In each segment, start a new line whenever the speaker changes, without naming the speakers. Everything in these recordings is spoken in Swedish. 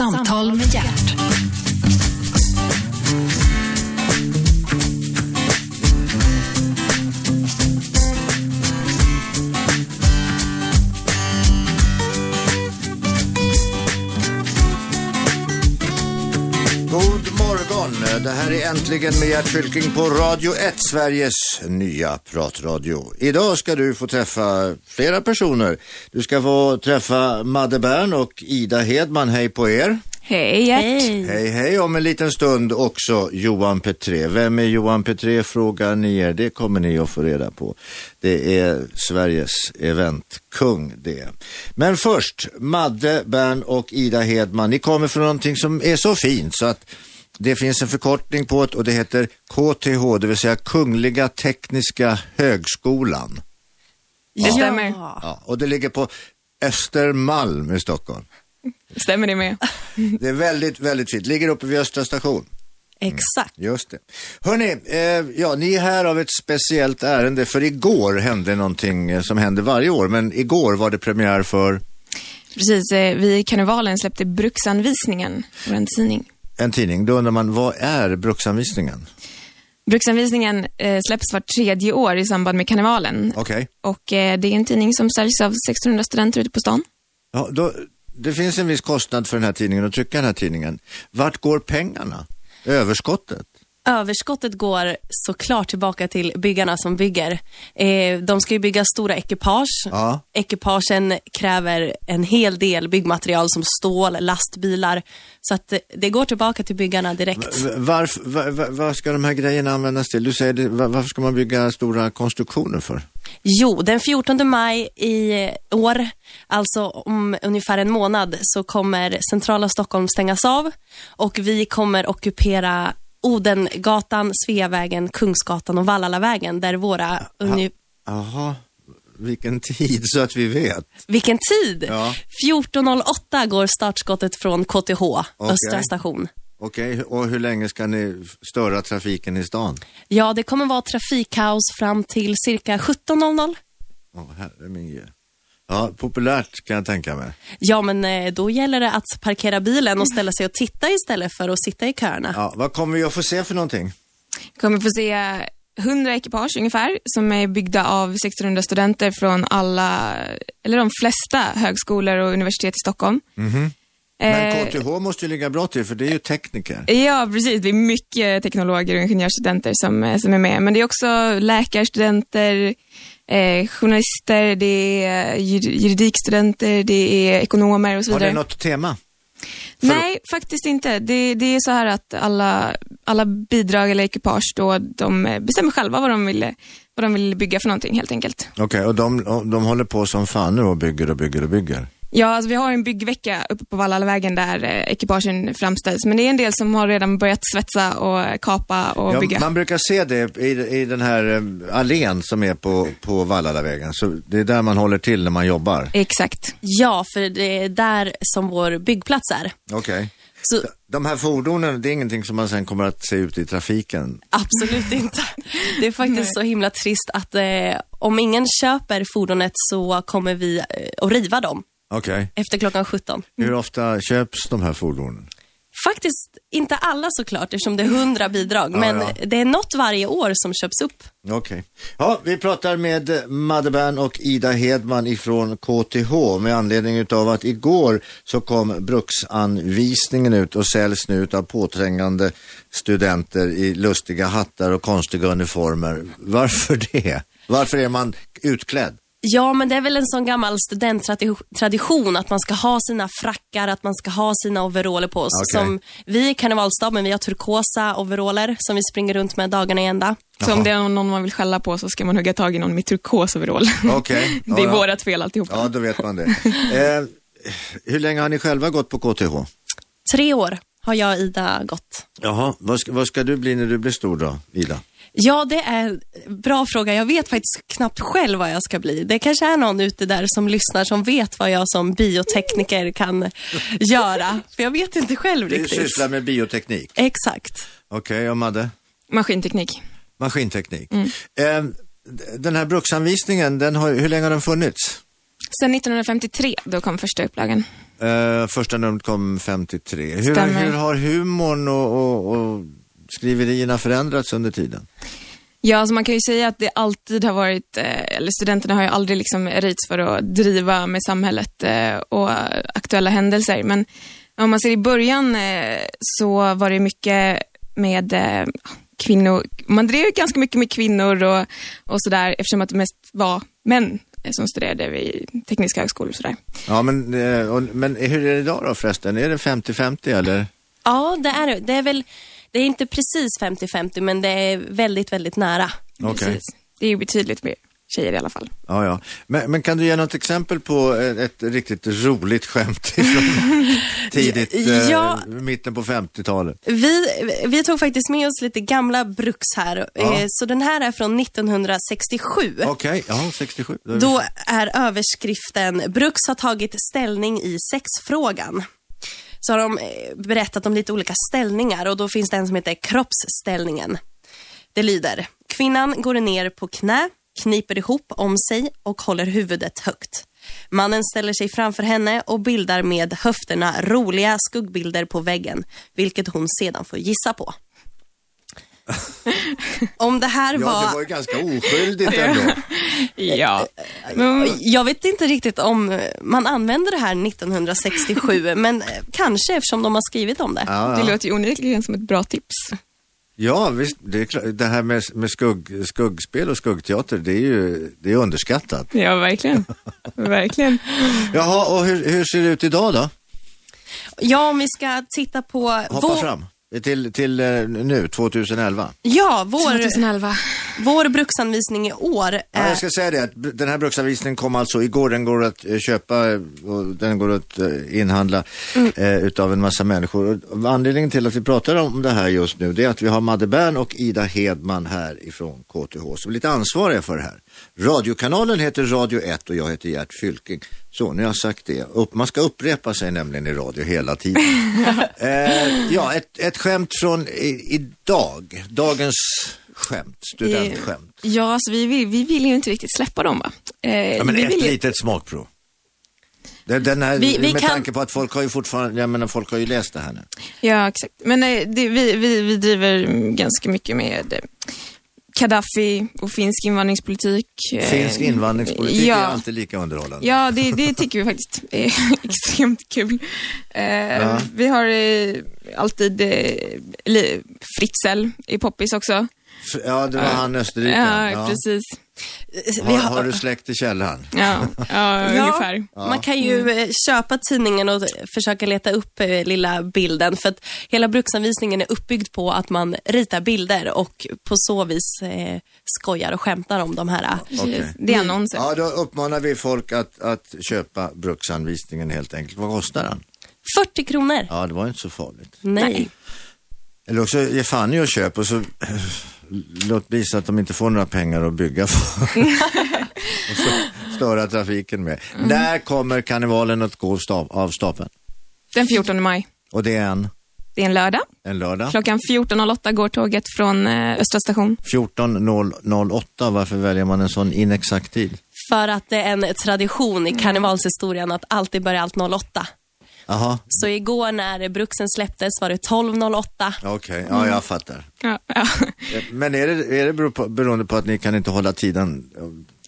Samtal med hjärt.
God morgon! Det här är äntligen med Gert Fylking på Radio 1, Sveriges nya pratradio. Idag ska du få träffa flera personer. Du ska få träffa Madde Bern och Ida Hedman. Hej på er!
Hej Gert.
Hej, hej. Om en liten stund också Johan Petré. Vem är Johan Petré frågar ni er. Det kommer ni att få reda på. Det är Sveriges eventkung det. Men först, Madde Bern och Ida Hedman. Ni kommer från någonting som är så fint så att det finns en förkortning på det och det heter KTH, det vill säga Kungliga Tekniska Högskolan.
Det stämmer.
Ja, och det ligger på Östermalm i Stockholm.
Stämmer det med?
Det är väldigt, väldigt fint. Ligger uppe vid Östra station.
Exakt.
Just det. Hörrni, eh, ja, ni är här av ett speciellt ärende för igår hände någonting eh, som händer varje år, men igår var det premiär för
Precis, eh, vi i karnevalen släppte Bruksanvisningen, vår tidning.
en tidning. Då undrar man, vad är bruksanvisningen?
Bruksanvisningen eh, släpps vart tredje år i samband med karnevalen.
Okej.
Och eh, det är en tidning som säljs av 1600 studenter ute på stan.
Ja, då, det finns en viss kostnad för den här tidningen att trycka den här tidningen. Vart går pengarna? Överskottet?
Överskottet går såklart tillbaka till byggarna som bygger. Eh, de ska ju bygga stora ekipage.
Ja.
Ekipagen kräver en hel del byggmaterial som stål, lastbilar. Så att eh, det går tillbaka till byggarna direkt.
V- Varför, va- va- vad ska de här grejerna användas till? Du säger, det, va- varför ska man bygga stora konstruktioner för?
Jo, den 14 maj i eh, år, alltså om ungefär en månad, så kommer centrala Stockholm stängas av och vi kommer ockupera Odengatan, Sveavägen, Kungsgatan och Vallalavägen där våra... Uni-
Jaha, vilken tid så att vi vet.
Vilken tid!
Ja.
14.08 går startskottet från KTH,
Okej.
Östra station.
Okej, och hur länge ska ni störa trafiken i stan?
Ja, det kommer vara trafikkaos fram till cirka 17.00.
Åh, herre min ge. Ja, populärt kan jag tänka mig.
Ja, men eh, då gäller det att parkera bilen och ställa sig och titta istället för att sitta i köerna.
Ja, vad kommer vi att få se för någonting?
Kommer få se 100 ekipage ungefär som är byggda av 1600 studenter från alla, eller de flesta högskolor och universitet i Stockholm. Eh,
Mhm. Men KTH måste ju ligga bra till för det är ju tekniker.
Ja, precis. Det är mycket teknologer och ingenjörsstudenter som, eh, som är med. Men det är också läkarstudenter, eh, journalister, det är eh, jur- juridikstudenter, det är ekonomer och så
Har
vidare.
det något tema?
Nej, faktiskt inte. Det, det är så här att alla, alla bidrag eller ekipage då, de eh, bestämmer själva vad de vill, vad de vill bygga för någonting helt enkelt.
Okej, och de, och de håller på som fan nu och bygger och bygger och bygger.
Ja, alltså vi har en byggvecka uppe på Vallalavägen där eh, ekipagen framställs. Men det är en del som har redan börjat svetsa och eh, kapa och
Ja,
bygga.
man brukar se det i, i den här eh, allén som är på, på Vallalavägen. Så det är där man håller till när man jobbar.
Exakt.
Ja, för det är där som vår byggplats är.
Okej.
Så
De här fordonen, det är ingenting som man sen kommer att se ut i trafiken.
absolut inte. Det är faktiskt så himla trist att eh, om ingen köper fordonet så kommer vi eh, att riva dem
Okej.
efter klockan 17.
Hur ofta köps de här fordonen?
Faktiskt inte alla såklart eftersom det är 100 bidrag, men
ja.
det är något varje år som köps upp.
Okej. Ja, vi pratar med Madde Bern och Ida Hedman ifrån KTH med anledning utav att igår så kom bruksanvisningen ut och säljs nu utav påträngande studenter i lustiga hattar och konstiga uniformer. Varför det? Varför är man utklädd?
Ja, men det är väl en sån gammal studenttradition att man ska ha sina frackar, att man ska ha sina overaller på oss.
Okej.
Som vi i karnevalsstaben, vi har turkosa overaller som vi springer runt med dagarna i ända.
Så om det är någon man vill skälla på så ska man hugga tag i någon med turkos overall.
Okej.
det är
Ja, ja.
vårat fel alltihopa.
Ja, då vet man det. Eh, hur länge har ni själva gått på KTH?
Tre år har jag och Ida gått.
Jaha, vad ska, vad ska du bli när du blir stor då, Ida?
Ja, det är en bra fråga. Jag vet faktiskt knappt själv vad jag ska bli. Det kanske är någon ute där som lyssnar som vet vad jag som biotekniker kan göra. För jag vet inte själv
Du
riktigt.
sysslar med bioteknik.
Exakt.
Okej, och Madde?
Maskinteknik.
Maskinteknik. Eh, d- den här bruksanvisningen, den har, hur länge har den funnits?
Sen 1953, då kom första upplagan.
Eh, första numret kom 53. Hur,
Stämmer.
hur har humorn och, och, och skriverierna förändrats under tiden?
Ja, alltså man kan ju säga att det alltid har varit, eh, eller studenterna har ju aldrig liksom rits för att driva med samhället eh, och eh, aktuella händelser. Men om man ser i början eh, så var det mycket med eh, kvinnor, man drev ju ganska mycket med kvinnor och, och sådär eftersom att det mest var män eh, som studerade vid tekniska högskolor och sådär.
Ja, men, eh, och, men hur är det idag då förresten? Är det 50-50 eller?
Ja, det är det. Det är väl, det är inte precis 50-50, men det är väldigt, väldigt nära.
Okej.
Precis. Det är ju betydligt mer tjejer i alla fall.
Ja, ja. Men, men kan du ge något exempel på ett, ett riktigt roligt skämt från tidigt, eh,
Ja.
mitten på 50-talet?
Vi, vi tog faktiskt med oss lite gamla bruks här,
Ja.
Eh, så den här är från 1967.
Okej, ja, 67. Då är vi-
Då är överskriften Bruks har tagit ställning i sexfrågan. Så har de eh, berättat om lite olika ställningar och då finns det en som heter kroppsställningen. Det lyder, kvinnan går ner på knä, kniper ihop om sig och håller huvudet högt. Mannen ställer sig framför henne och bildar med höfterna roliga skuggbilder på väggen, vilket hon sedan får gissa på. Om det här
Ja, det var ju ganska oskyldigt ändå.
Ja.
jag vet inte riktigt om eh, man använder det här 1967, men eh, kanske eftersom de har skrivit om det.
Ja,
Det
ja.
låter ju onekligen som ett bra tips.
ja visst, det, är klart, det här med, med skugg, skuggspel och skuggteater, det är ju det är underskattat.
Ja, verkligen. verkligen.
Jaha, och hur, hur ser det ut idag då?
Ja, om vi ska titta på...
Hoppa fram till, till eh, nu, 2011.
Ja, vår,
2011.
vår bruksanvisning i år
Ja,
är...
jag ska säga det, att den här bruksanvisningen kom alltså igår, den går att eh, köpa eh, och den går att eh, inhandla eh, utav en massa människor. Och anledningen till att vi pratar om det här just nu det är att vi har Madde Bern och Ida Hedman här ifrån KTH som är lite ansvariga för det här. Radiokanalen heter Radio 1 och jag heter Gert Fylking. Så, nu har jag sagt det. Upp, man ska upprepa sig nämligen i radio hela tiden. eh, ja, ett, ett skämt från i, idag, dagens skämt, studentskämt.
Ja, alltså vi vill, vi vill ju inte riktigt släppa dem va? Eh,
Ja, men
vi
ett
vill ju...
litet smakprov. Den, den här,
Vi- vi
med
kan-
tanke på att folk har ju fortfarande, jag menar folk har ju läst det här nu.
Ja, exakt. Men eh, det, vi, vi, vi driver mm, ganska mycket med eh, Gaddafi och finsk invandringspolitik. eh,
Finsk invandringspolitik
ja.
är alltid lika underhållande.
Ja, det, det tycker vi faktiskt är extremt kul. Eh, Vi har eh, alltid eh, li- Fritzl i Poppis också.
F- ja det var han
Ja,
österrikaren. Ja.
precis.
Eh, vi
Har, har du släkt i källaren?
Ja, ja,
Ja,
ungefär.
Man kan ju eh,
Mm.
köpa tidningen och eh, försöka leta upp eh, lilla bilden för att hela bruksanvisningen är uppbyggd på att man ritar bilder och på så vis eh, skojar och skämtar om de här eh,
Okej.
Det är annonsen.
Ja, då uppmanar vi folk att, att köpa bruksanvisningen helt enkelt. Vad kostar den?
40 kronor.
Ja, det var inte så farligt.
Nej.
Eller också ge fan i att köpa och så eh, låt bli så att de inte får några pengar att bygga för. och så störa trafiken med. När kommer karnevalen att gå stav, av stapeln?
Den 14 maj.
Och det är en,
Det är en lördag.
en lördag.
Klockan 14.08 går tåget från eh, Östra station.
14.008, varför väljer man en sån inexakt tid?
För att det är en tradition
Mm.
i karnevalshistorien att alltid börja allt 08.
Jaha,
Så igår när bruksen släpptes var det 12.08.
okej, ja jag fattar.
Ja, ja.
Eh, Men är det, är det bero på, beroende på att ni kan inte hålla tiden?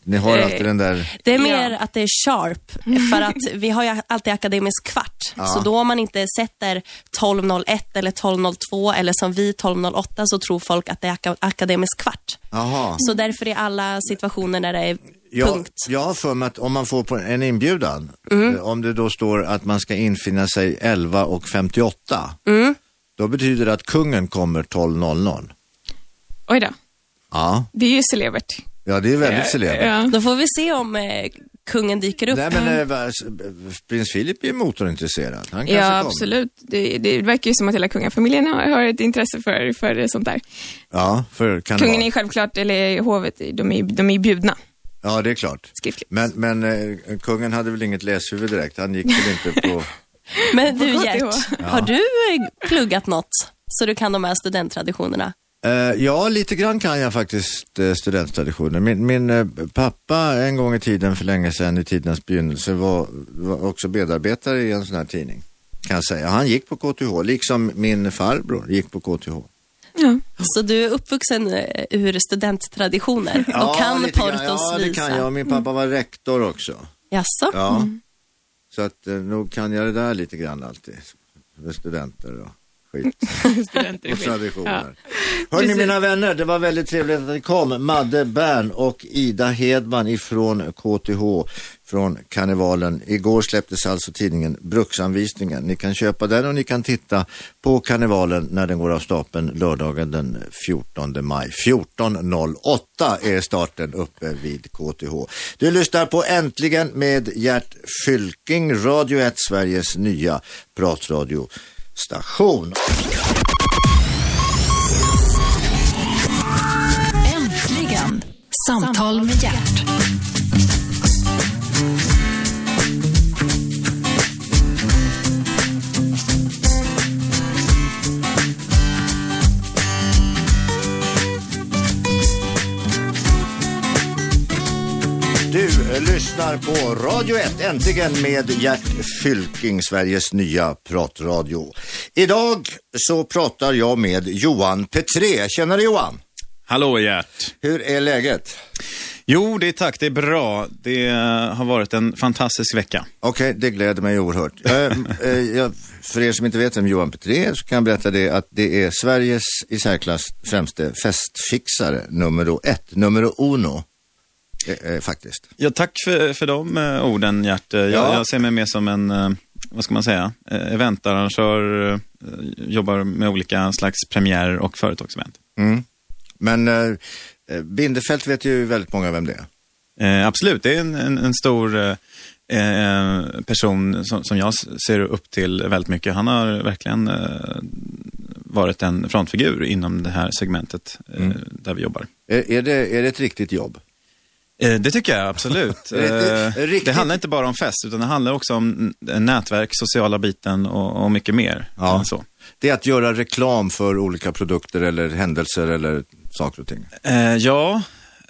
Ni har
Eh,
alltid den där,
Det är mer
Ja.
att det är sharp, för att vi har ju alltid akademisk kvart.
Mm. Ja.
Så då om man inte sätter 12.01 eller 12.02 eller som vi 12.08 så tror folk att det är aka- akademisk kvart.
jaha.
Så därför är alla situationer när det är
Jag,
punkt.
jag har för mig att om man får på en inbjudan,
Mm.
eh, om det då står att man ska infinna sig 11 och 58,
Mm.
då betyder det att kungen kommer 12.00.
Oj då,
Ja,
det är ju celebert.
ja det är väldigt celebert.
Ja.
Då får vi se om eh, kungen dyker upp.
Nej men eh, va- s- prins Philip är ju motorintresserad, han kanske
Ja,
kommer.
absolut. Det, det verkar ju som att hela kungafamiljen har, har ett intresse för, för sånt där.
Ja, för kan det
Kungen är
vara.
ju självklart, eller hovet, de är, de är bjudna
Ja, det är klart.
skriftligt.
Men, men eh, kungen hade väl inget läshuvud direkt, han gick väl inte på...
Men du
På KTH.
Gert, har du eh, pluggat något så du kan de här studenttraditionerna?
Eh, ja, lite grann kan jag faktiskt eh, studenttraditionen. Min, min eh, pappa en gång i tiden, för länge sedan, i tidernas begynnelse, var, var också medarbetare i en sån här tidning. Kan jag säga. Han gick på KTH, liksom min farbror gick på KTH.
Ja.
Så du är uppvuxen eh, ur studenttraditioner och kan
lite grann.
Portos
Ja, det
visa?
kan jag. Min pappa var rektor också.
Jaså?
Ja. Så att eh, nog kan jag det där lite grann alltid. Med studenter och skit.
Studenter.
och traditioner. Hörni
Precis.
mina vänner, det var väldigt trevligt att ni kom. Madde Bern och Ida Hedman ifrån KTH från karnevalen. Igår släpptes alltså tidningen Bruksanvisningen. Ni kan köpa den och ni kan titta på karnevalen när den går av stapeln lördagen den 14 maj. 14.08 är starten uppe vid KTH. Du lyssnar på Äntligen med Gert Fylking, Radio 1, Sveriges nya pratradiostation.
Äntligen! Samtal med hjärt.
Du eh, lyssnar på Radio 1, äntligen med Gert Fylking, Sveriges nya pratradio. Idag så pratar jag med Johan Petré. Känner du Johan?
Hallå Gert!
Hur är läget?
Jo, det är tack. Det är bra. Det eh, har varit en fantastisk vecka.
Okej, det gläder mig oerhört. Ehm, eh, jag, för er som inte vet vem Johan Petré är så kan jag berätta det att det är Sveriges i särklass främste festfixare, nummer ett, nummer uno. Eh, eh, faktiskt.
Ja, tack för, för de eh, orden Gert. Eh, Jag,
Ja.
jag ser mig mer som en, eh, vad ska man säga, eh, eventarrangör, eh, jobbar med olika slags premiärer och företagsevent.
Mm. Men eh, eh, Bindefält vet ju väldigt många vem det är.
Eh, absolut, det är en, en, en stor eh, eh, person som, som jag s- ser upp till väldigt mycket. Han har verkligen eh, varit en frontfigur inom det här segmentet eh, där vi jobbar.
Är, är, det, är det ett riktigt jobb?
Eh, Det tycker jag absolut.
Är det- är
Eh,
det riktigt-
Det handlar inte bara om fest, utan det handlar också om n- nätverk, sociala biten och, och mycket mer.
Ja.
än Så.
Det är att göra reklam för olika produkter eller händelser eller saker och ting.
Eh, ja,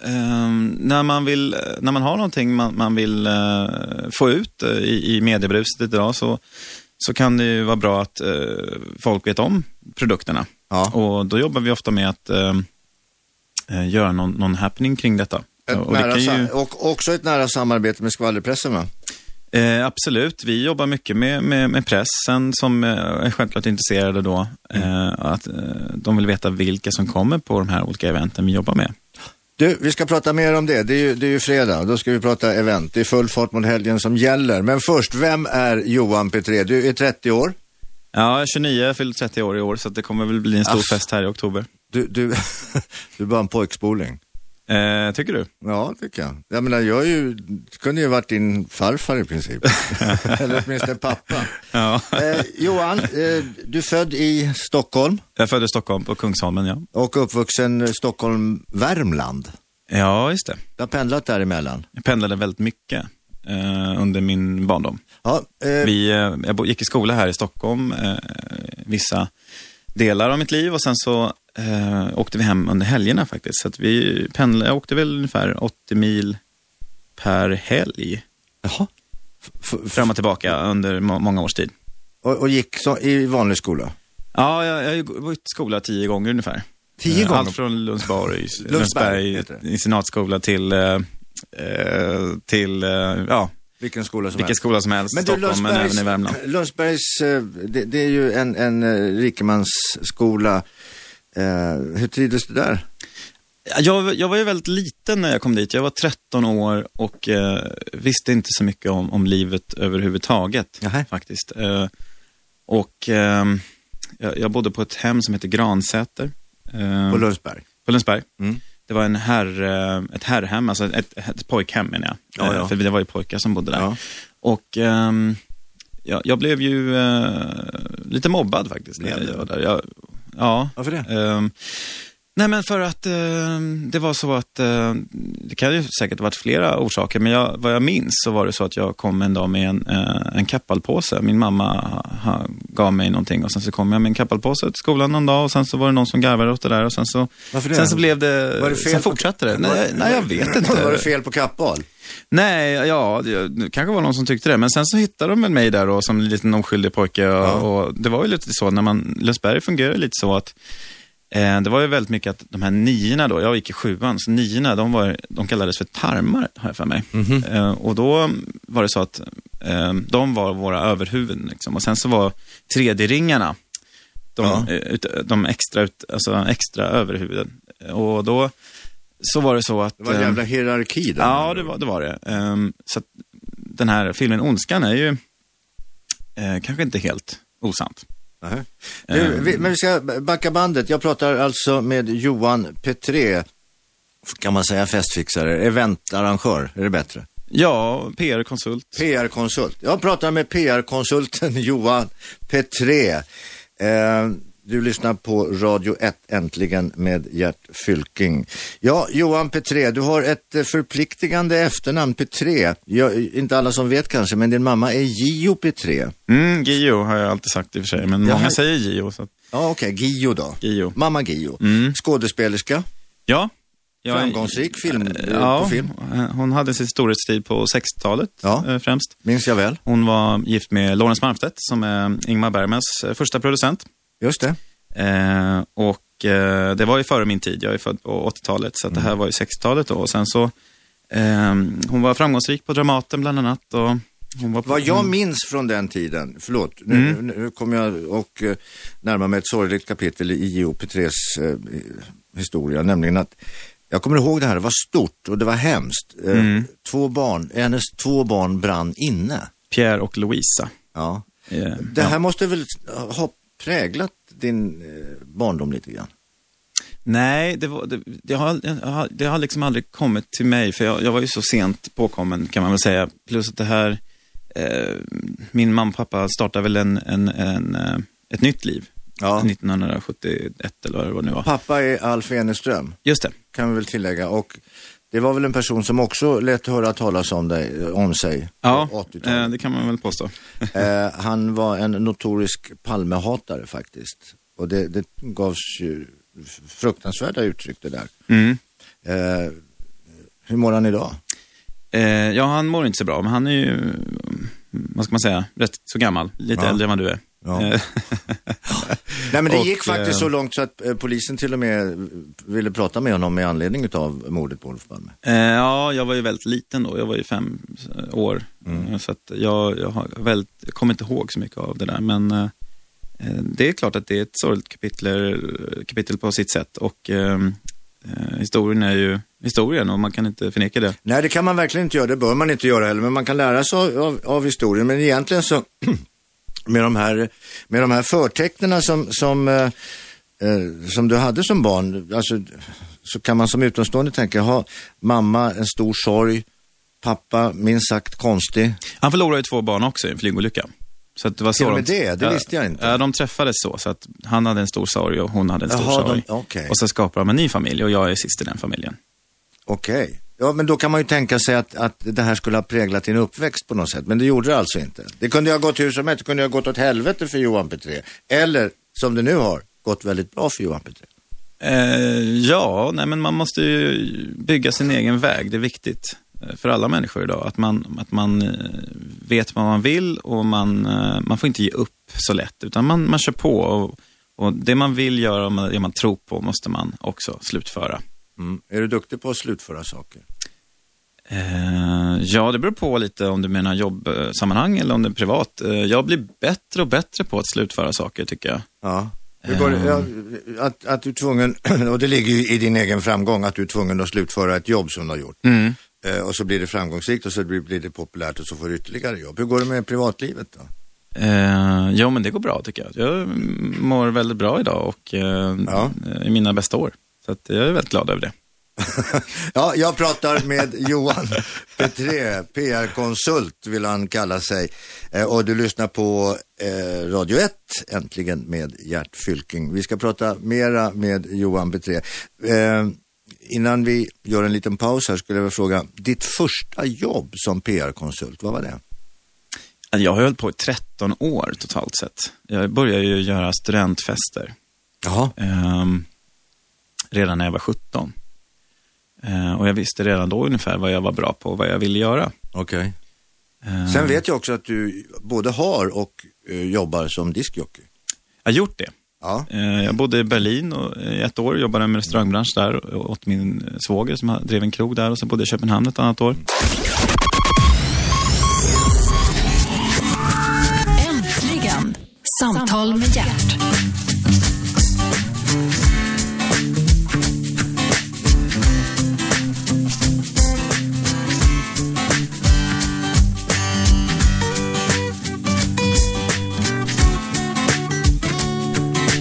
ehm, när, man vill, när man har någonting man, man vill eh, få ut eh, i, i mediebruset idag så, så kan det ju vara bra att eh, folk vet om produkterna.
Ja.
Och då jobbar vi ofta med att eh, eh, göra någon, någon happening kring detta.
Ett
Och det
nära
kan ju-
sam- och också ett nära samarbete med skvallerpressen va?
Eh, absolut, vi jobbar mycket med, med, med pressen som eh, är självklart intresserade då. Eh, att, eh, de vill veta vilka som kommer på de här olika eventen vi jobbar med.
Du, vi ska prata mer om det. Det är, ju, det är ju fredag, då ska vi prata event. Det är full fart mot helgen som gäller. Men först, vem är Johan Petré? Du är 30 år.
Ja, jag är 29, jag fyller 30 år i år så att det kommer väl bli en stor
Aff.
fest här i oktober.
Du, du, du är bara en pojkspoling.
Eh, tycker du?
Ja, tycker jag. Jag menar, jag är ju, kunde ju varit din farfar i princip. eller åtminstone pappa.
Ja.
Eh, Johan, eh, du är född i Stockholm.
Jag föddes i Stockholm på Kungsholmen, ja.
Och uppvuxen eh, Stockholm, Värmland.
Ja, just det.
Du har pendlat däremellan.
Jag pendlade väldigt mycket eh, under min barndom.
Ja, eh,
Vi, eh, jag bo- gick i skola här i Stockholm eh, vissa delar av mitt liv och sen så eh, åkte vi hem under helgerna faktiskt. Så att vi pendlade, jag åkte väl ungefär 80 mil per helg
jaha. F- f-
fram och tillbaka under må- många års tid.
och, och gick så, i vanlig skola?
Ja, jag jag har ju g- varit i skola tio gånger ungefär.
Tio
Eh,
gånger?
Allt från Lundsberg,
Lundsberg
Lundsberg
heter det.
i senatskola till, eh, eh, till eh, ja,
Vilken skola som
vilken
helst.
skola som helst,
Men du,
Stockholm men
Lundsbergs,
även i Värmland.
Lundsbergs eh, det, det är ju en, en eh, rikemansskola. Eh, hur trivdes du där?
Jag, jag var ju väldigt liten när jag kom dit. Jag var 13 år och eh, visste inte så mycket om, om livet överhuvudtaget.
Nähä.
faktiskt. Eh, och ehm, jag, jag bodde på ett hem som heter Gransäter eh,
På Lundsberg?
på Lundsberg.
Mm.
Det var en herr, eh, ett herrhem, alltså ett, ett pojkhem menar jag.
Ja, ja.
Eh, För det var ju pojkar som bodde där.
Ja.
Och ehm, jag, jag blev ju eh, lite mobbad faktiskt.
Blev
när
du?
jag var där. Jag, ja.
Varför det?
Ehm, Nej, men för att eh, det var så att, eh, det kan ju säkert ha varit flera orsaker, men jag, vad jag minns så var det så att jag kom en dag med en, eh, en kappalpåse. Min mamma ha, ha, gav mig någonting och sen så kom jag med en kappalpåse till skolan någon dag och sen så var det någon som garvade åt det där och sen så,
Varför det?
sen så blev det,
Var det fel
Eh, sen
på-
fortsatte det. Nej, nej, jag vet inte.
Var det fel på kappahl?
Nej, ja, det det kanske var någon som tyckte det. Men sen så hittade de väl mig där då som en liten omskyldig pojke. Och, och det var ju lite så, när man, Lösberg fungerar lite så att eh, det var ju väldigt mycket att de här niorna då, jag gick i sjuan, så niorna, de, var, de kallades för tarmar, har jag för mig.
Mhm.
Eh, och då var det så att eh, de var våra överhuvuden liksom. Och sen så var 3D-ringarna, de,
Ja.
eh, ut, de extra, ut, alltså extra överhuvuden. Och då så var det så att...
Det var en
eh,
jävla hierarki där.
Ja, det var det. Var det. Ehm, så att den här filmen Ondskan är ju eh, kanske inte helt osant.
Nähä.
Eh.
Du, vi, men vi ska backa bandet. Jag pratar alltså med Johan Petré. Kan man säga festfixare? Eventarrangör, är det bättre?
Ja, PR-konsult.
PR-konsult. Jag pratar med PR-konsulten Johan Petré. Eh, du lyssnar på Radio 1 äntligen med Gert Fylking. Ja, Johan Petré, du har ett eh, förpliktigande efternamn, Petré. Jag, inte alla som vet kanske, men din mamma är Gio Petré.
Mm, Gio har jag alltid sagt i och för sig, men
Ja.
många säger Gio. Så att,
Ja, okej, Gio då.
Gio.
Mamma Gio.
Mm.
Skådespelerska,
Ja. jag är-
framgångsrik film, eh,
Ja,
på film,
eh, hon hade sin storhetstid på 60-talet
Ja.
eh, främst.
minns jag väl.
Hon var gift med Lawrence Malmstedt som är Ingmar Bergmans eh, första producent.
Just det.
Eh, och eh, det var ju före min tid, jag är född på 80-talet, så att
Mm.
det här var ju 60-talet då. Och sen så, ehm, hon var framgångsrik på Dramaten bland annat. Och hon var på, Mm.
Vad jag
hon-
minns från den tiden, förlåt, nu,
Mm.
nu, nu kommer jag och eh, närma mig ett sorgligt kapitel i J.O. Petrés eh, historia, nämligen att jag kommer ihåg det här, det var stort och det var hemskt. Eh,
Mm.
Två barn, hennes två barn brann inne.
Pierre och Louisa.
Ja.
Eh,
Det här måste väl ha präglat din eh, barndom lite grann?
Nej, det, var, det, det, har, jag har- det har liksom aldrig kommit till mig, för jag, jag var ju så sent påkommen kan man väl säga. Plus att det här, eh, min mamma och pappa startade väl en, en, en, eh, ett nytt liv.
Ja.
1971 eller vad det nu var.
Pappa är Alf Eneström,
Just det.
kan vi väl tillägga. Och det var väl en person som också lät höra talas om, dig, om sig på
Ja,
80-talet.
eh, det kan man väl påstå.
Eh, han var en notorisk Palmehatare faktiskt. Och det, det gavs ju f- fruktansvärda uttryck det där.
Mm.
Eh, hur mår han idag?
Eh, ja, han mår inte så bra, men han är ju, mm, vad ska man säga, rätt så gammal. Lite
Ja.
äldre än vad du är.
Ja.
Eh,
Nej men det
Och,
gick faktiskt
eh,
så långt så att eh, polisen till och med ville prata med honom med anledning av mordet på Olof Palme.
eh, ja, jag var ju väldigt liten då. Jag var ju fem eh, år.
Mm.
Eh, Så att jag, jag, har väldigt, jag kommer inte ihåg så mycket av det där. Men eh, eh, det är klart att det är ett sorgligt kapitel, kapitel på sitt sätt. Och eh, eh, historien är ju historien och man kan inte förneka det.
Nej det kan man verkligen inte göra, det bör man inte göra heller, men man kan lära sig av, av, av historien. Men egentligen så med de här, med de här förtecknena som, som, eh, eh, som du hade som barn, alltså, så kan man som utomstående tänka, ha mamma en stor sorg, pappa minst sagt konstig.
Han förlorade ju två barn också i en flygolycka. Så att det var så
Till och med
de-
det? Det
Ja,
visste jag inte.
Ja, de träffades så, så att han hade en stor sorg och hon hade en stor
Jaha, de-
sorg.
okej.
Och så skapade de en ny familj och jag är sist i den familjen.
Okej. Ja, men då kan man ju tänka sig att, att det här skulle ha präglat din uppväxt på något sätt, men det gjorde det alltså inte. Det kunde ju ha gått hur som helst, det kunde ju ha gått åt helvete för Johan Petré. Eller, som det nu har, gått väldigt bra för Johan Petré.
Eh, ja, nej men man måste ju bygga sin egen väg. Det är viktigt eh, för alla människor idag. Att man, att man eh, vet vad man vill och man, eh, man får inte ge upp så lätt. Utan man, man kör på. Och, och det man vill göra och man- det man tror på måste man också slutföra.
Mm. Är du duktig på att slutföra saker?
Eh, ja, det beror på lite om du menar jobbsammanhang eller om det är privat. Eh, jag blir bättre och bättre på att slutföra saker tycker jag.
Ja. Hur går det? Ja, att, att du är tvungen, och det ligger ju i din egen framgång, att du är tvungen att slutföra ett jobb som du har gjort.
Mm.
Eh, och så blir det framgångsrikt och så blir, blir det populärt och så får du ytterligare jobb. Hur går det med privatlivet då?
Eh, ja, men det går bra tycker jag. Jag mår väldigt bra idag och eh,
Ja.
i mina bästa år. Så att jag är väldigt glad över det.
ja, jag pratar med Johan Petré, PR-konsult vill han kalla sig. Eh, och du lyssnar på eh, Radio 1, äntligen med Gert Fylking. Vi ska prata mera med Johan Petré. Eh, innan vi gör en liten paus här skulle jag vilja fråga, ditt första jobb som PR-konsult, vad var det?
Alltså, Jag har hållit på i 13 år totalt sett. Jag började ju göra studentfester
Jaha.
ehm, redan när jag var 17. Eh, och jag visste redan då ungefär vad jag var bra på och vad jag ville göra.
Okej.
Ehm,
Sen vet jag också att du både har och eh, jobbar som diskjockey.
Jag har gjort det.
Ja.
Eh, Jag bodde i Berlin och i ett år jobbade med restaurangbransch där och åt min eh, svåger som ha- drev en krog där och sen bodde jag i Köpenhamn ett annat år.
Äntligen! Samtal med hjärt.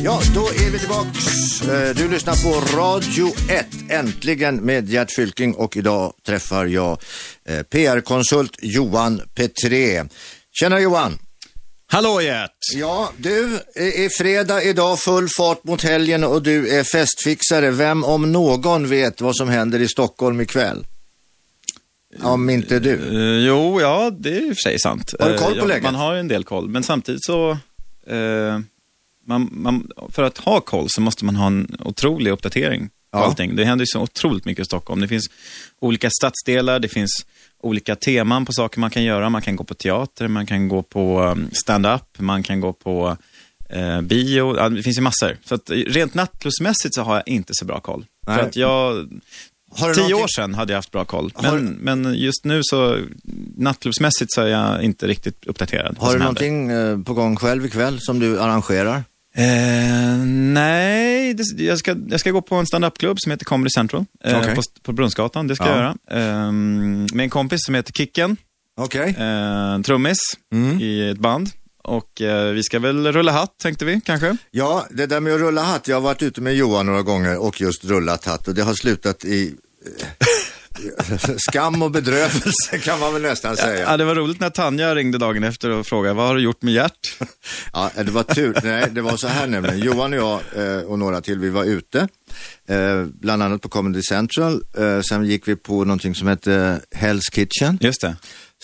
Ja, då är vi tillbaks. Eh, Du lyssnar på Radio 1, äntligen med Gert Fylking och idag träffar jag eh, PR-konsult Johan Petré. Tjena Johan!
Hallå Gert!
Ja, du eh, är fredag idag, full fart mot helgen och du är festfixare. Vem om någon vet vad som händer i Stockholm ikväll? Om inte du.
Eh, jo, ja, det är i och för sig sant.
Har du koll
Eh,
på
ja,
läget?
Man har en del koll, men samtidigt så... eh, man, man, för att ha koll så måste man ha en otrolig uppdatering på
Ja.
allting. Det händer ju så otroligt mycket i Stockholm. Det finns olika stadsdelar, det finns olika teman på saker man kan göra. Man kan gå på teater, man kan gå på um, stand-up, man kan gå på eh, bio. Ja, det finns ju massor. Så att, eh, rent nattklubbsmässigt så har jag inte så bra koll.
Nej.
För att jag
Har du
Tio
någonting-
år sedan hade jag haft bra koll. Men,
Har-
men just nu så, nattklubbsmässigt så är jag inte riktigt uppdaterad. på vad
Har du
som
någonting eh, på gång själv ikväll som du arrangerar?
händer. Eh, nej, det, jag, ska, jag ska gå på en standupklubb som heter Comedy Central eh,
Okej.
på, på Brunnsgatan. Det ska jag
Ja.
göra. Eh, med en kompis som heter Kicken,
Okej.
eh, trummis
Mm.
i ett band. Och eh, vi ska väl rulla hatt tänkte vi kanske.
Ja, det där med att rulla hatt. Jag har varit ute med Johan några gånger och just rullat hatt och det har slutat i eh, skam och bedrövelse kan man väl nästan
Ja,
säga.
det var roligt när Tanja ringde dagen efter och frågade vad har du gjort med Gert?
Ja, det var tur. Nej, det var så här nämligen. Johan och jag eh, och några till, vi var ute. eh, Bland annat på Comedy Central. Eh, Sen gick vi på någonting som hette Hell's Kitchen.
Just det,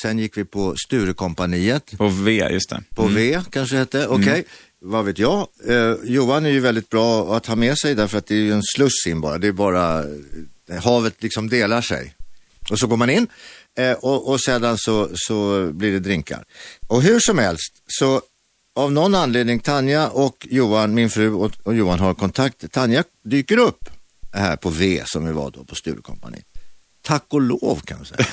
Sen gick vi på Sturekompaniet.
på V, just det.
på V kanske det hette. Okej, vad vet jag. Eh, Johan är ju väldigt bra att ha med sig därför att det är ju en sluss in bara. Det är bara, eh, havet liksom delar sig. Och så går man in eh, och, och sedan så, så blir det drinkar. Och hur som helst så av någon anledning Tanja och Johan, min fru och, och Johan har kontakt. Tanja dyker upp här på V som vi var då på Sturecompagniet. Tack och lov kan jag säga.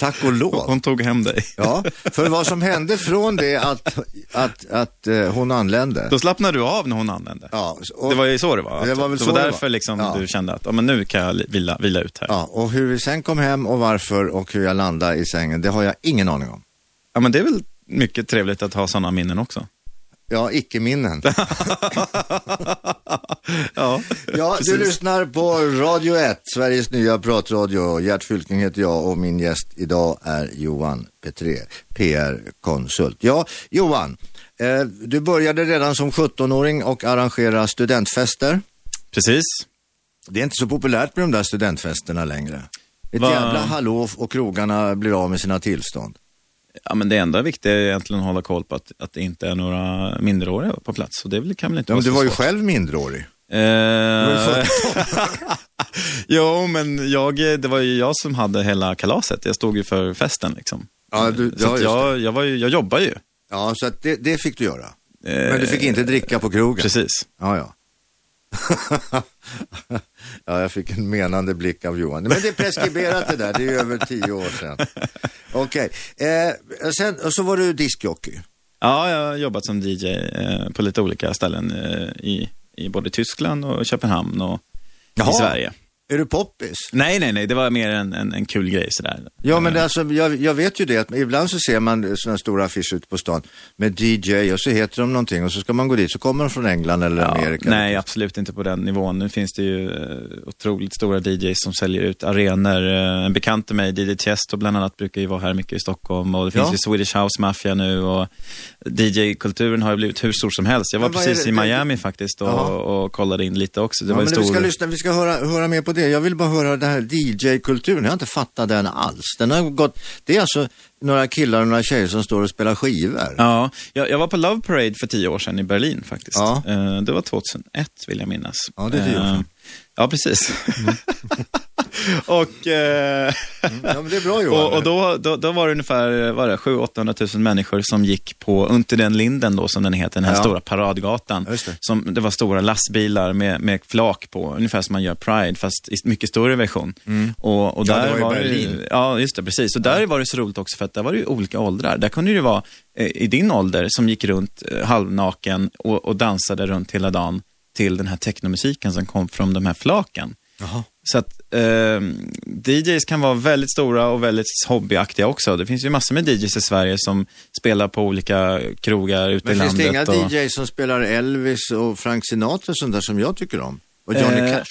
Tack och lov.
Hon tog hem dig.
Ja, för vad som hände från det att, att, att eh, hon anlände.
Då slappnade du av när hon använde.
Ja, och,
det var ju så det var.
Det var väl så det var.
därför Liksom
Ja.
du kände att ja, men nu kan jag li- vila, vila ut här. Ja.
ja, och hur vi sen kom hem och varför och hur jag landade i sängen, det har jag ingen aning om.
men det är väl mycket trevligt att ha sådana minnen också.
Ja, icke-minnen.
Ja,
Ja, du
precis.
lyssnar på Radio 1, Sveriges nya pratradio. Gert Fylking heter jag och min gäst idag är Johan Petré, PR-konsult. Ja, Johan, eh, du började redan som 17-åring och arrangera studentfester.
Precis.
Det är inte så populärt med de där studentfesterna längre. Ett
Va?
jävla hallå och krogarna blir av med sina tillstånd.
Ja, men det enda viktiga är egentligen att hålla koll på att, att det inte är några minderåriga på plats. Så det väl- kan väl inte
Ja, men
vara
du
så
var ju
svårt.
själv minderårig.
Eh, jo, men jag, det var ju jag som hade hela kalaset. Jag stod ju för festen liksom.
Ja, du,
Så
ja,
att
just det.
jag, jag, var ju, jag jobbar ju.
ja, så att det, det fick du göra.
Eh,
Men du fick inte dricka på krogen.
Precis.
Ja, ja. ja, jag fick en menande blick av Johan. Men det är preskriberat det där, det är ju över tio år sedan. Okej, eh, sen och så var du diskjockey.
Ja, jag har jobbat som DJ eh, på lite olika ställen eh, i, i både Tyskland och Köpenhamn och
Jaha.
i Sverige.
Är du poppis?
Nej, nej, nej, det var mer en, en, en kul grej sådär.
Ja, men det, är alltså, jag, jag vet ju det att ibland så ser man sådana stora affischer ute på stan med DJ och så heter de någonting och så ska man gå dit så kommer de från England eller Amerika. liksom.
nej, absolut inte på den nivån. Nu finns det ju eh, otroligt stora DJs som säljer ut arenor. Eh, En bekant till mig, DJ Tiesto bland annat, brukar ju vara här mycket i Stockholm och det finns
Ja.
ju Swedish House Mafia nu och DJ-kulturen har ju blivit hur stor som helst. Jag var
Men vad är
precis
det-
i
det-
Miami faktiskt
Jaha.
och, och kollade in lite också. Det
Ja,
var
men
ju stor...
vi ska, lyssna, vi ska höra, höra mer på det. Jag vill bara höra den här DJ-kulturen. Jag har inte fattat den alls. Den har gått, det är alltså några killar och några tjejer som står och spelar skivor.
Ja, jag, jag var på Love Parade för tio år sedan i Berlin faktiskt.
Ja.
Eh, Det var 2001 vill jag minnas.
Ja, det är tio år
Eh,
sedan. Mm.
Ja, precis. och, eh,
Ja, men det är bra Johan.
och, och då, då, då var det ungefär var det, 700-800 000 människor som gick på Unter den Linden då, som den heter, den här
Ja.
stora paradgatan.
Ja, just det.
Som, det var stora lastbilar med, med flak på, ungefär som man gör Pride, fast i mycket större version. Och,
Mm.
och
Ja,
där
det var i
det ju-
Berlin.
Ja, just det, precis. Och där var det så roligt också för att där var det ju olika åldrar. Där kunde det ju vara eh, i din ålder som gick runt eh, halvnaken och, och dansade runt hela dagen till den här technomusiken som kom från de här flaken.
Jaha.
Så att eh, DJs kan vara väldigt stora och väldigt hobbyaktiga också. Det finns ju massor med DJs i Sverige som spelar på olika krogar ute i
Men finns
landet.
det inga
och...
DJs som spelar Elvis och Frank Sinatra och sånt där som jag tycker om? Och Johnny
Eh,
Cash?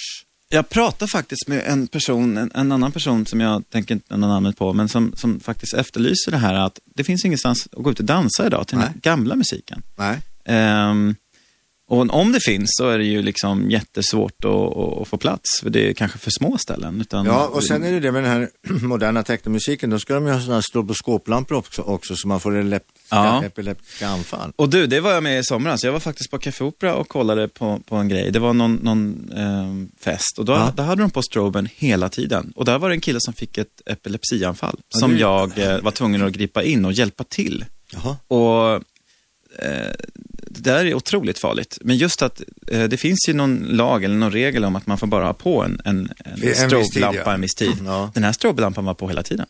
Jag pratade faktiskt med en person, en, en annan person som jag tänker inte nämna namnet på, men som, som faktiskt efterlyser det här att det finns ingenstans att gå ut och dansa idag till den
Nej.
gamla musiken.
Nej.
Ehm, och om det finns så är det ju liksom jättesvårt att, att, att få plats, för det är kanske för små ställen. Utan
Ja, och sen är det det med den här moderna teknomusiken. Då ska de ju ha sådana här stroboskoplampor också, också så man får epileptiska,
Ja.
epileptiska anfall.
Och du, det var jag med i somras. Jag var faktiskt på Café Opera och kollade på, på en grej. Det var någon, någon ehm, fest och då,
Ja.
där hade de på stroben hela tiden. Och där var det en kille som fick ett epilepsianfall
Ja,
som
det-
jag eh, var tvungen att gripa in och hjälpa till.
Jaha.
Och eh, det där är otroligt farligt. Men just att eh, det finns ju någon lag eller någon regel om att man får bara ha på en, en, en,
viss tid,
strobelampa
ja.
en viss tid.
Ja.
Den här strobelampan var på hela tiden.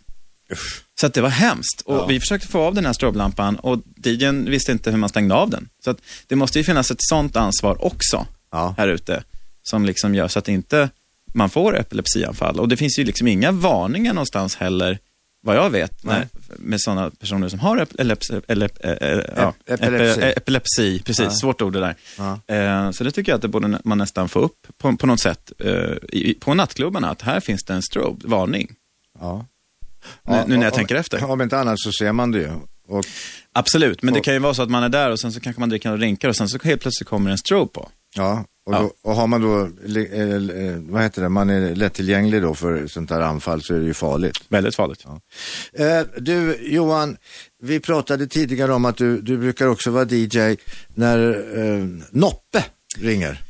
Så att det var hemskt. Och
Ja.
Vi försökte få av den här strobelampan och DJn visste inte hur man stängde av den. Så att det måste ju finnas ett sånt ansvar också
Ja.
här ute som liksom gör så att inte man får epilepsianfall. Och det finns ju liksom inga varningar någonstans heller, vad jag vet, när,
Nej.
med sådana personer som har epilepsi. elep- eh, eh, ja,
Ep- epilepsi.
epi- eh, epilepsi, precis,
Ja.
svårt ord det där.
Ja.
Eh, så det tycker jag att det borde nä- man nästan få upp på, på något sätt eh, i, i- på nattklubbarna, att här finns det en strobe, varning.
Ja.
Nu- nu när jag
om-
tänker efter.
Om inte annat så ser man det ju. Och,
Absolut, men det
Och-
kan ju vara så att man är där och sen så kanske man dricker några drinkar och sen så helt plötsligt kommer en strobe på.
ja, och,
Ja.
Då, och har man då, li- eh, eh, vad heter det, man är lättillgänglig då för sånt här anfall så är det ju farligt.
Väldigt farligt.
Eh, du Johan, vi pratade tidigare om att du, du brukar också vara DJ när eh, Noppe ringer.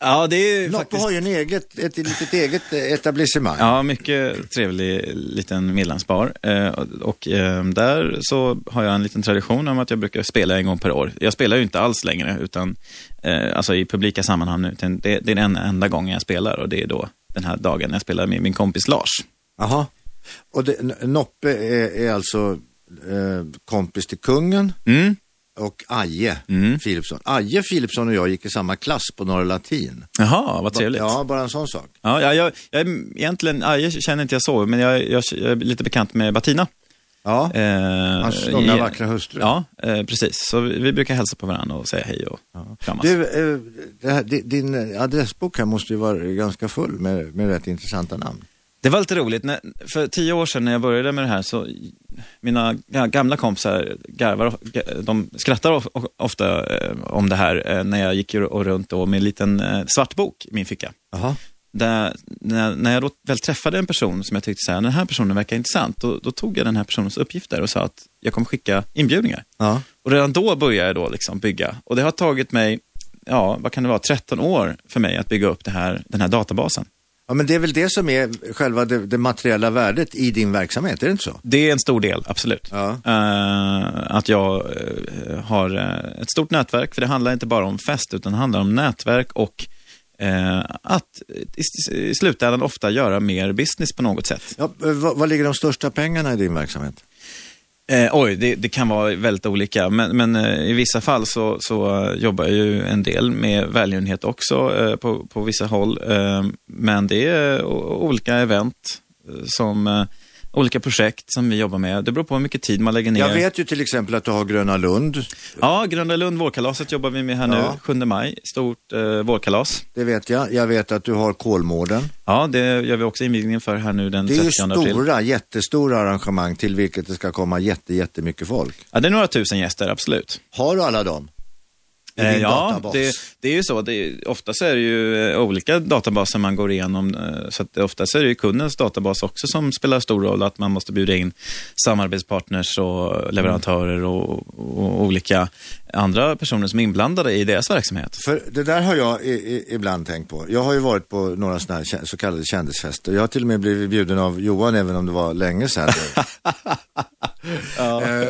Ja, det är ju
Noppe
faktiskt...
har ju en eget, ett litet eget eh, etablissemang.
Ja, mycket trevlig liten midlandsbar. Eh, och eh, där så har jag en liten tradition om att jag brukar spela en gång per år. Jag spelar ju inte alls längre, utan eh, alltså i publika sammanhang nu. Utan det, det är den enda gången jag spelar och det är då den här dagen jag spelar med min kompis Lars.
Jaha. Och det, N- Noppe är, är alltså eh, kompis till kungen
Mm.
och Aje
Mm.
Philipsson. Aje Philipsson och jag gick i samma klass på Norra Latin.
Jaha, vad trevligt.
Ja, bara en sån sak.
Ja, jag, jag, jag är egentligen, ja, jag känner inte jag så, men jag, jag, jag är lite bekant med Batina.
Ja,
Eh,
hans långa
i-
vackra hustru.
Ja, eh, precis. Så vi, vi brukar hälsa på varandra och säga hej och kramas.
Du, eh, det här, di- din eh, adressbok här måste ju vara ganska full med, med rätt intressanta namn.
Det var lite roligt, när, för tio år sedan när jag började med det här så mina ga- gamla kompisar garvar, ga- de skrattar of- of- ofta eh, om det här eh, när jag gick ju- och runt då med en liten eh, svart bok i min ficka.
Jaha.
Där, när, när jag då väl träffade en person som jag tyckte så här, den här personen verkar intressant, då, då tog jag den här personens uppgifter och sa att jag kommer skicka inbjudningar.
Ja.
Och redan då började jag då liksom bygga. Och det har tagit mig, ja, vad kan det vara, 13 år för mig att bygga upp det här, den här databasen.
ja, men det är väl det som är själva det, det materiella värdet i din verksamhet, är det inte så?
Det är en stor del, absolut.
Ja.
Eh, att jag eh, har eh, ett stort nätverk, för det handlar inte bara om fest, utan det handlar om nätverk och eh, att i, i slutändan ofta göra mer business på något sätt.
Ja, eh, vad, vad ligger de största pengarna i din verksamhet?
Eh, oj, det, det kan vara väldigt olika, men, men eh, i vissa fall så, så eh, jobbar jag ju en del med välgörenhet också eh, på, på vissa håll. Eh, men det är eh, o- olika event, eh, som, eh, olika projekt som vi jobbar med. Det beror på hur mycket tid man lägger ner.
Jag vet ju till exempel att du har Gröna Lund.
Ja, Gröna Lund, vårkalaset jobbar vi med här
Ja.
nu, 7 maj. Stort eh, vårkalas.
Det vet jag. Jag vet att du har Kolmården.
Ja, det gör vi också invigningen för här nu den
Det
30
är ju
april.
stora, jättestora arrangemang till vilket det ska komma jätte, jättemycket folk.
Ja, det är några tusen gäster, absolut.
Har du alla dem? I
Eh,
din
ja,
databas?
det, det är ju så. Det, är- oftast är det ju eh, olika databaser man går igenom. eh, Så att det, oftast är det ju kundens databas också som spelar stor roll. Att man måste bjuda in samarbetspartners och leverantörer och, och olika andra personer som är inblandade i deras verksamhet.
För det där har jag i, i, ibland tänkt på. Jag har ju varit på några såna här kä- så kallade kändisfester. Jag har till och med blivit bjuden av Johan även om det var länge sedan.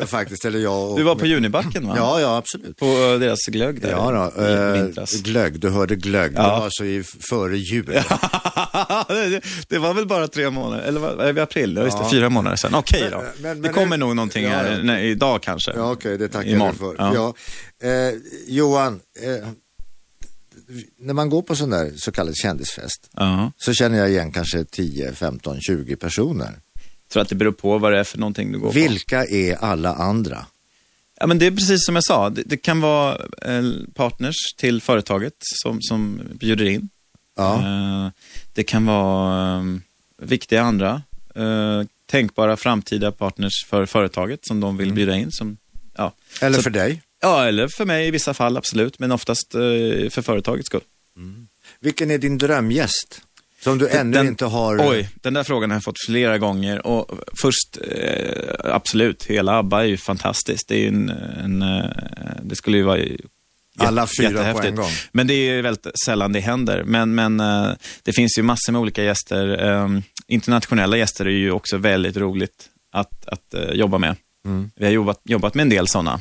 eh, faktiskt, eller jag och...
Du var på Junibacken, va?
Ja, ja, absolut.
På eh, deras glögg där
Ja, då,
i
eh,
vintras.
glögg, du hörde glögg. Det
Ja.
var alltså i, före jul.
det, det var väl bara tre månader, eller var, är vi i april? Ja, just det, fyra månader sedan. Okej då.
Men- men-
det
men-
kommer nog någonting
Ja,
här,
ja.
Nej, idag kanske.
Ja, okej, det tackar
Imorgon.
du för.
Ja.
Ja. Eh, Johan, eh, när man går på sån där så kallad kändisfest
Ja.
så känner jag igen kanske 10, 15, 20 personer.
Jag tror att det beror på vad det är för någonting du går på.
Vilka är alla andra?
Ja, men det är precis som jag sa, det, det kan vara eh, partners till företaget som, som bjuder in.
Ja.
Eh, det kan vara eh, viktiga andra eh, tänkbara framtida partners för företaget som de vill bjuda in. Som, ja.
Eller
Så-
för dig?
ja, eller för mig i vissa fall absolut, men oftast eh, för företagets skull.
Vilken är din drömgäst? Som du ännu
Den-
inte har...
Oj, den där frågan har jag fått flera gånger. Och först, eh, absolut, hela ABBA är ju fantastiskt. Det, är ju en, en, eh, det skulle ju vara ju-
Alla fyra på en
jättehäftigt.
gång.
Men det är ju väldigt sällan det händer. Men, men eh, det finns ju massor med olika gäster. Eh, internationella gäster är ju också väldigt roligt att, att eh, jobba med.
Mm.
Vi har jobbat, jobbat med en del sådana,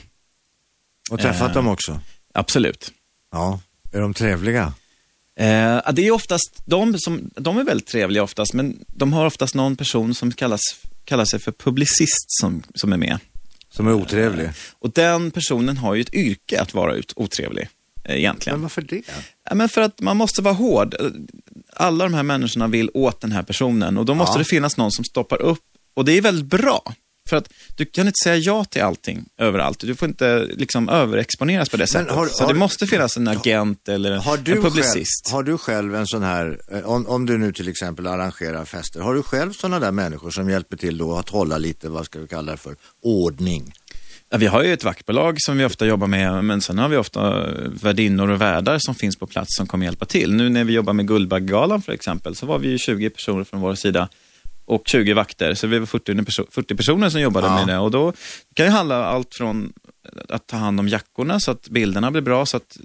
Och träffat
Eh.
dem också?
absolut.
Ja. Är de trevliga?
Eh, ja, det är oftast, de, som, de är väldigt trevliga oftast, men de har oftast någon person som kallas, kallar sig för publicist som, som är med.
Som är otrevlig?
Och den personen har ju ett yrke att vara ut, otrevlig, eh, egentligen.
Men varför det?
Ja, men för att man måste vara hård. Eh, Alla de här människorna vill åt den här personen och då måste
Ja.
det finnas någon som stoppar upp. Och det är väldigt bra. För att du kan inte säga ja till allting överallt. Du får inte liksom överexponeras på det sättet.
har-
Så
har-
det måste finnas en agent eller en,
Har
en
du, själv,
publicist.
har du själv en sån här, eh, om, om du nu till exempel arrangerar fester, har du själv sådana där människor som hjälper till då att hålla lite, vad ska vi kalla det för, ordning?
Ja, vi har ju ett vaktbolag som vi ofta jobbar med, men sen har vi ofta eh, värdinnor och värdar som finns på plats som kommer hjälpa till. Nu när vi jobbar med Guldbaggegalan för exempel, så var vi ju 20 personer från vår sida och 20 vakter, så vi var 40, perso- 40 personer som jobbade
Ja.
med det. Och då det kan ju handla allt från att ta hand om jackorna så att bilderna blir bra, så att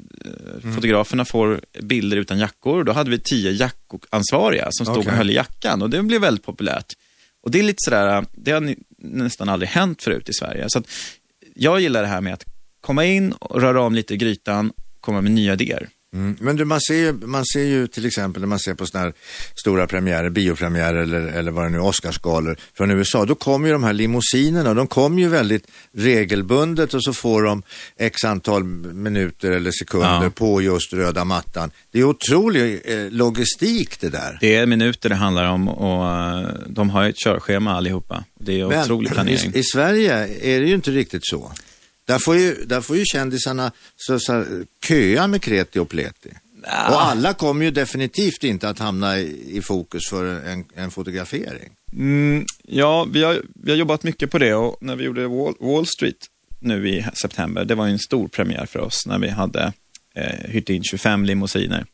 eh, fotograferna får bilder utan jackor. Då hade vi 10 jackansvariga som stod
Okej.
och höll i jackan och det blev väldigt populärt. Och det är lite sådär, det har ni- nästan aldrig hänt förut i Sverige. Så att jag gillar det här med att komma in och röra om lite i grytan, komma med nya idéer.
Mm. Men du, man, ser ju, man ser ju till exempel när man ser på sådana här stora premiärer, biopremiärer eller, eller vad det nu är, Oscarsgalor från USA, då kommer ju de här limousinerna, de kommer ju väldigt regelbundet och så får de x antal minuter eller sekunder
Ja.
på just röda mattan. Det är otrolig eh, logistik det där.
Det är minuter det handlar om och eh, de har ju ett körschema allihopa. Det är otrolig planering.
I, I Sverige är det ju inte riktigt så. Där får ju, där får ju kändisarna så, så, här, köa med kreti och pleti. Och alla kommer ju definitivt inte att hamna i, i fokus för en, en fotografering.
Mm, ja, vi har, vi har jobbat mycket på det och när vi gjorde Wall, Wall Street nu i september, det var ju en stor premiär för oss när vi hade eh, hyrt in 25 limousiner.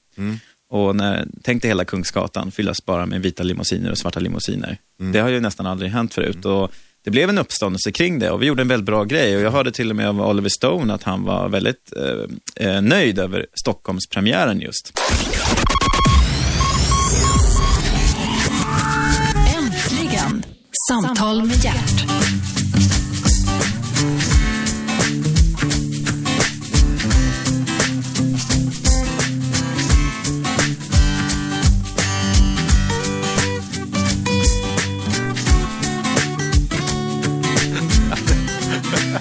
Och när, tänk dig hela Kungsgatan fyllas bara med vita limousiner och svarta limousiner. Det har ju nästan aldrig hänt förut. Och det blev en uppståndelse kring det och vi gjorde en väldigt bra grej. Och jag hörde till och med av Oliver Stone att han var väldigt eh, eh, nöjd över Stockholmspremiären just.
Äntligen! Samtal med hjärt.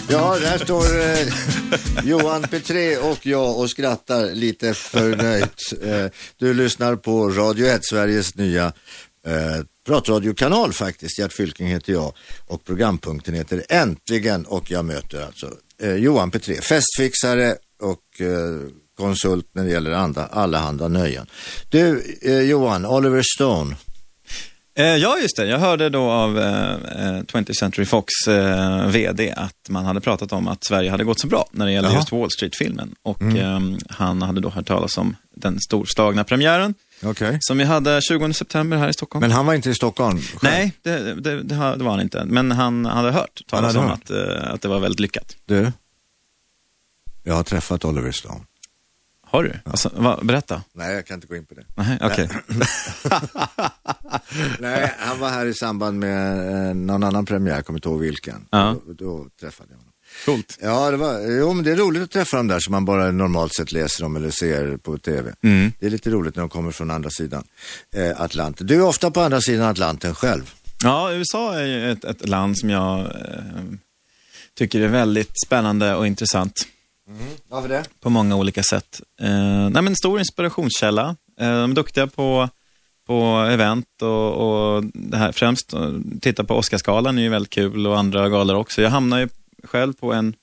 Ja, där står eh, Johan Petré och jag och skrattar lite förnöjt. Eh, du lyssnar på Radio 1, Sveriges nya eh, pratradiokanal faktiskt. Gert Fylking heter jag och programpunkten heter Äntligen och jag möter alltså eh, Johan Petré, festfixare och eh, konsult när det gäller andra, allehanda nöjen. Du eh, Johan, Oliver Stone.
Eh, ja, just det. Jag hörde då av eh, eh, 20th Century Fox eh, VD att man hade pratat om att Sverige hade gått så bra när det gällde
Jaha. Mm.
just Wall Street-filmen. Och ehm, han hade då hört talas om den storslagna premiären
Okej.
som vi hade 20 september här i Stockholm.
Men han var inte i Stockholm? själv.
Nej, det, det, det, har- det var han inte. Men han hade hört
Han
talas
hade
om
hört.
att, eh, att det var väldigt lyckat.
Du, jag har träffat Oliver Stone.
Har du? Alltså, va, berätta.
Nej, jag kan inte gå in på det.
Nej, okej.
Nej, han var här i samband med eh, någon annan premiär, jag kommer inte ihåg vilken.
Ja.
Då, då träffade jag honom.
Coolt.
Ja, det, var, jo, men det är roligt att träffa dem där som man bara normalt sett läser om eller ser på TV. Det är lite roligt när de kommer från andra sidan eh, Atlanten. Du är ofta på andra sidan Atlanten själv.
Ja, USA är ju ett, ett land som jag eh, tycker är väldigt spännande och intressant.
Mm. Varför det?
på många olika sätt. Eh, nej, men stor inspirationskälla. Eh, de är duktiga på, på event och, och det här, främst eh, titta på Oscarsgalan är ju väldigt kul och andra galor också. Jag hamnade ju själv på en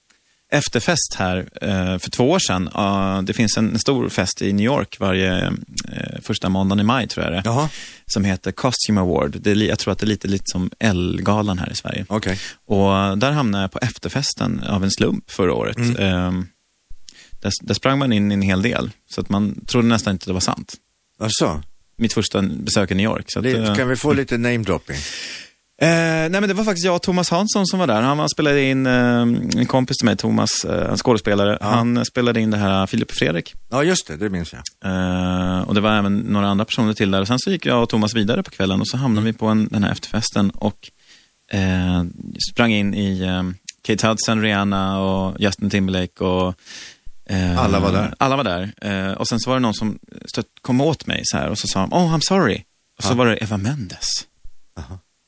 efterfest här eh, för två år sedan. Eh, det finns en stor fest i New York varje eh, första måndagen i maj tror jag det är,
Jaha,
som heter Costume Award. Det är, li- jag tror att det är lite, lite som L-galan här i Sverige.
okej.
Och där hamnade jag på efterfesten av en slump förra året.
Mm.
Ehm, där, där sprang man in i en hel del, så att man trodde nästan inte det var sant.
Alltså,
Mitt första besök i New York. Så att, eh,
det, kan vi få lite namedropping?
Eh, nej men det var faktiskt jag och Thomas Hansson som var där. Han var, spelade in, eh, en kompis till mig, Thomas, eh, en skådespelare, han spelade in det här Filip och Fredrik.
Ja, just det, det minns jag.
Eh, och det var även några andra personer till där. Och sen så gick jag och Thomas vidare på kvällen och så hamnade vi på en, den här efterfesten och eh, sprang in i eh, Kate Hudson, Rihanna och Justin Timberlake och eh,
Alla var där.
Alla var där. Eh, och sen så var det någon som stött, kom åt mig så här och så sa han, oh I'm sorry. Och så var det Eva Mendes.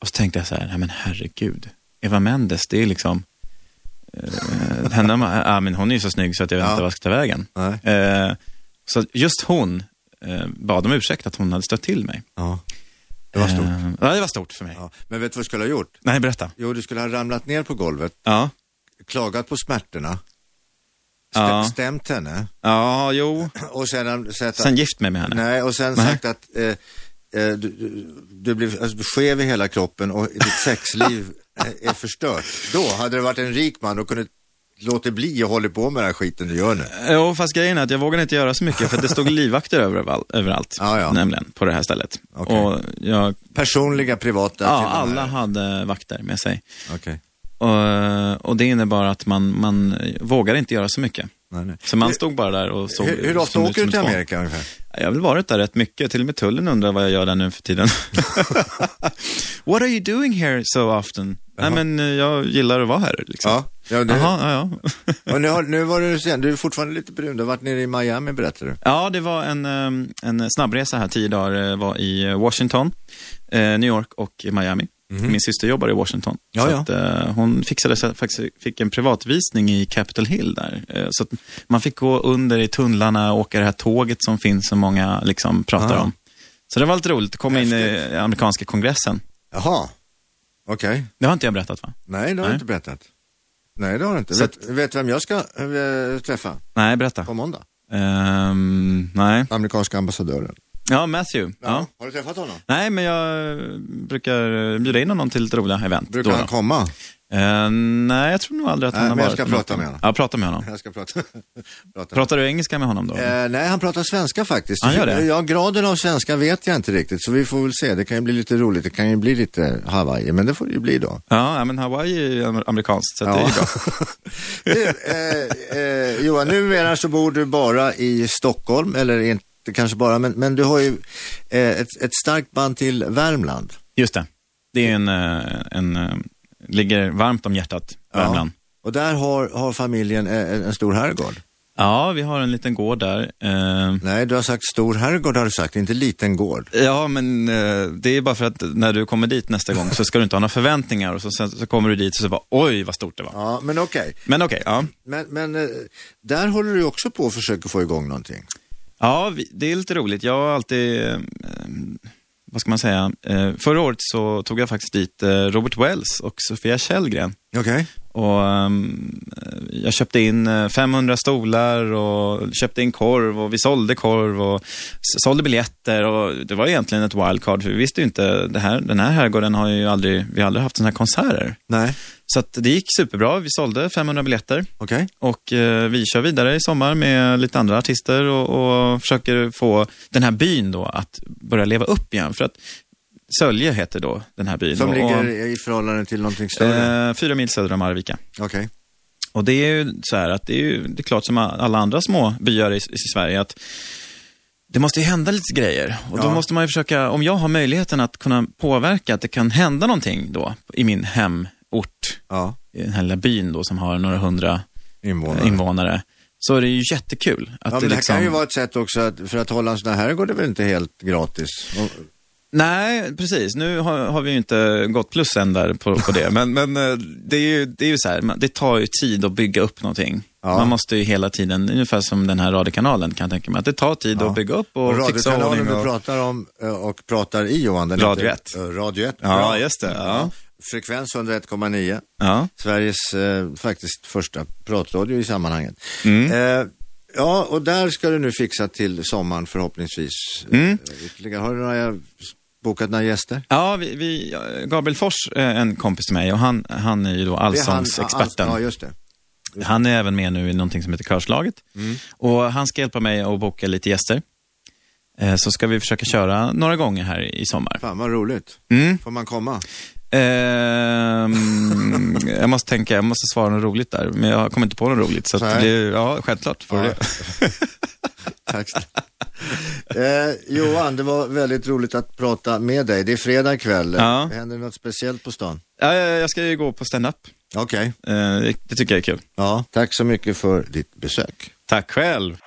Och så tänkte jag så här, nej men herregud. Eva Mendes, det är liksom eh, henne, ja, men hon är ju så snygg så att jag vet
Ja.
inte vad jag ska ta vägen.
Nej.
Eh, så just hon eh, bad om ursäkt att hon hade stött till mig.
Ja. Det var stort.
Eh, ja, det var stort för mig.
Ja. Men vet du vad du skulle ha gjort?
Nej, berätta.
Jo, du skulle ha ramlat ner på golvet,
Ja,
klagat på smärtorna, stä-
ja.
stämt henne
ja jo.
och sedan sett att
Sen gift mig med henne.
Nej, och sen
Nej.
sagt att eh, eh, du, du, du blev alltså, skev i hela kroppen och ditt sexliv är, är förstört. Då hade du varit en rik man och kunnat låta bli och hålla på med den här skiten du gör nu.
Jo, fast grejen är att jag vågade inte göra så mycket för att det stod livvakter överall, överallt.
Ja, ja.
Nämligen, på det här stället.
Okej.
Och jag,
Personliga, privata.
ja,
till och med.
alla hade vakter med sig.
Okej.
Eh, Och, och det innebar att man, man vågade inte göra så mycket.
Nej, nej.
Så man
Hur-
stod bara där och såg
Hur, hur ofta
såg ut
åker
som
du till
ett fån.
Amerika ungefär?
Jag har väl varit där rätt mycket, till och med tullen undrar vad jag gör där nu för tiden. What are you doing here so often? Nej men eh, jag gillar att vara här liksom.
Ja, ja, det-
Jaha, ja, ja.
Och nu, har, nu var du sen, du är fortfarande lite brun, du har varit nere i Miami berättar du.
Ja, det var en, eh, en snabbresa här, tio dagar, eh, var i eh, Washington, eh, New York och i Miami. Min syster jobbar i Washington.
Ja,
så
ja.
Att, eh, hon fixade så, faktiskt fick en privatvisning i Capitol Hill där. Eh, så att man fick gå under i tunnlarna och åka det här tåget som finns som många liksom pratar
Ah.
om. Så det var lite roligt att komma in i
Häftigt.
amerikanska kongressen.
Jaha, okej.
Det har inte jag berättat va?
Nej, det har du
Nej.
inte berättat. Nej, det har du inte.
Så
Vet, vet du vem jag ska eh, träffa
Nej, berätta.
på måndag?
Ehm, nej.
Amerikanska ambassadören.
Ja, Matthew. Ja.
Har du träffat honom?
Nej, men jag brukar bjuda in honom till lite roliga event.
Brukar
då
han
då.
komma?
Eh, nej, jag tror nog aldrig att
Nej,
han har
men jag
varit
ska
på
prata
något.
med honom.
Ja, prata med honom.
Jag ska prata. prata.
Pratar du engelska med honom då?
Eh, nej, han pratar svenska faktiskt.
Han gör det?
Ja, graden av svenska vet jag inte riktigt, så vi får väl se. Det kan ju bli lite roligt, det kan ju bli lite Hawaii, men det får det ju bli då.
Ja, ja, men Hawaii är ju amer- amerikanskt, så att det är ju bra.
du, eh, eh, Johan, numera så bor du bara i Stockholm, eller inte kanske bara, men, men du har ju eh, ett, ett starkt band till Värmland.
Just det. Det är en, eh, en, eh, ligger varmt om hjärtat, Värmland.
Ja. Och där har, har familjen eh, en, en stor herrgård.
Ja, vi har en liten gård där. Eh,
Nej, du har sagt stor herrgård har du sagt, inte liten gård.
Ja, men eh, det är bara för att när du kommer dit nästa gång så ska du inte ha några förväntningar och så, sen så kommer du dit och så bara oj vad stort det var.
Ja, men okej.
Men okej, ja.
Men, men eh, där håller du också på att försöka få igång någonting.
Ja, vi, det är lite roligt. Jag har alltid, eh, vad ska man säga, eh, förra året så tog jag faktiskt dit eh, Robert Wells och Sofia Källgren.
Okej.
Och, ehm, jag köpte in eh, 500 stolar och köpte in korv och vi sålde korv och s- sålde biljetter och det var egentligen ett wildcard för vi visste ju inte, det här, den här herrgården har ju aldrig, vi har aldrig haft sådana här konserter.
Nej,
Så att det gick superbra, vi sålde 500 biljetter
okej.
och eh, vi kör vidare i sommar med lite andra artister och, och försöker få den här byn då att börja leva upp igen. För att Sölje heter då den här byn.
Som
och,
ligger i förhållande till någonting större?
eh, fyra mil söder om Arvika.
Okej.
Och det är ju så här att det är ju det är klart som alla andra små byar i, i Sverige att det måste ju hända lite grejer. Och då
Ja.
måste man ju försöka, om jag har möjligheten att kunna påverka att det kan hända någonting då i min hemort,
Ja,
i den här lilla byn då som har några hundra
invånare.
invånare. Så är det ju jättekul. Att
Ja, men
det
det här
liksom...
kan ju vara ett sätt också att, för att hålla en sån här herrgård är väl inte helt gratis? Och,
Nej, precis. Nu har, har vi ju inte gått plus än där på, på det. Men, men eh, det är ju, det är ju så här, man- det tar ju tid att bygga upp någonting.
Ja.
Man måste ju hela tiden, ungefär som den här radiokanalen kan jag tänka mig, att det tar tid
Ja.
att bygga upp och,
och
fixa
radiokanalen
ordning.
du
Och...
pratar om eh, och pratar i Johan, den
Radio
heter,
ett.
eh, Radio 1.
Ja, just det, ja.
Frekvens 101,9.
Ja.
Sveriges eh, faktiskt första pratradio i sammanhanget.
Mm.
Eh, ja, och där ska du nu fixa till sommaren förhoppningsvis.
Mm.
Eh, ytterligare. Har du några, bokat några gäster?
Ja, vi, vi, Gabriel Fors, eh, en kompis till mig, och han, han är ju då
Det är han- ah,
allsångsexperten.
Ja, just det.
Han är även med nu i någonting som heter Körslaget. Och han ska hjälpa mig att boka lite gäster. Eh, Så ska vi försöka köra några gånger här i sommar.
Fan vad roligt.
Mm.
Får man komma?
Ehm, jag måste tänka, jag måste svara något roligt där, men jag kommer inte på något roligt. Så att
Nej.
det blir, ja, självklart får du
Ja.
det.
Tack. eh, Johan, det var väldigt roligt att prata med dig. Det är fredag kväll.
Ja.
Händer det något speciellt på stan?
Ja, ja, jag ska ju gå på stand-up.
Okej.
Eh, det, det tycker jag är kul.
Ja, tack så mycket för ditt besök.
Tack själv.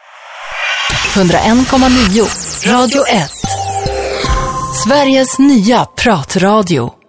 101,9. Radio 1. Sveriges nya pratradio.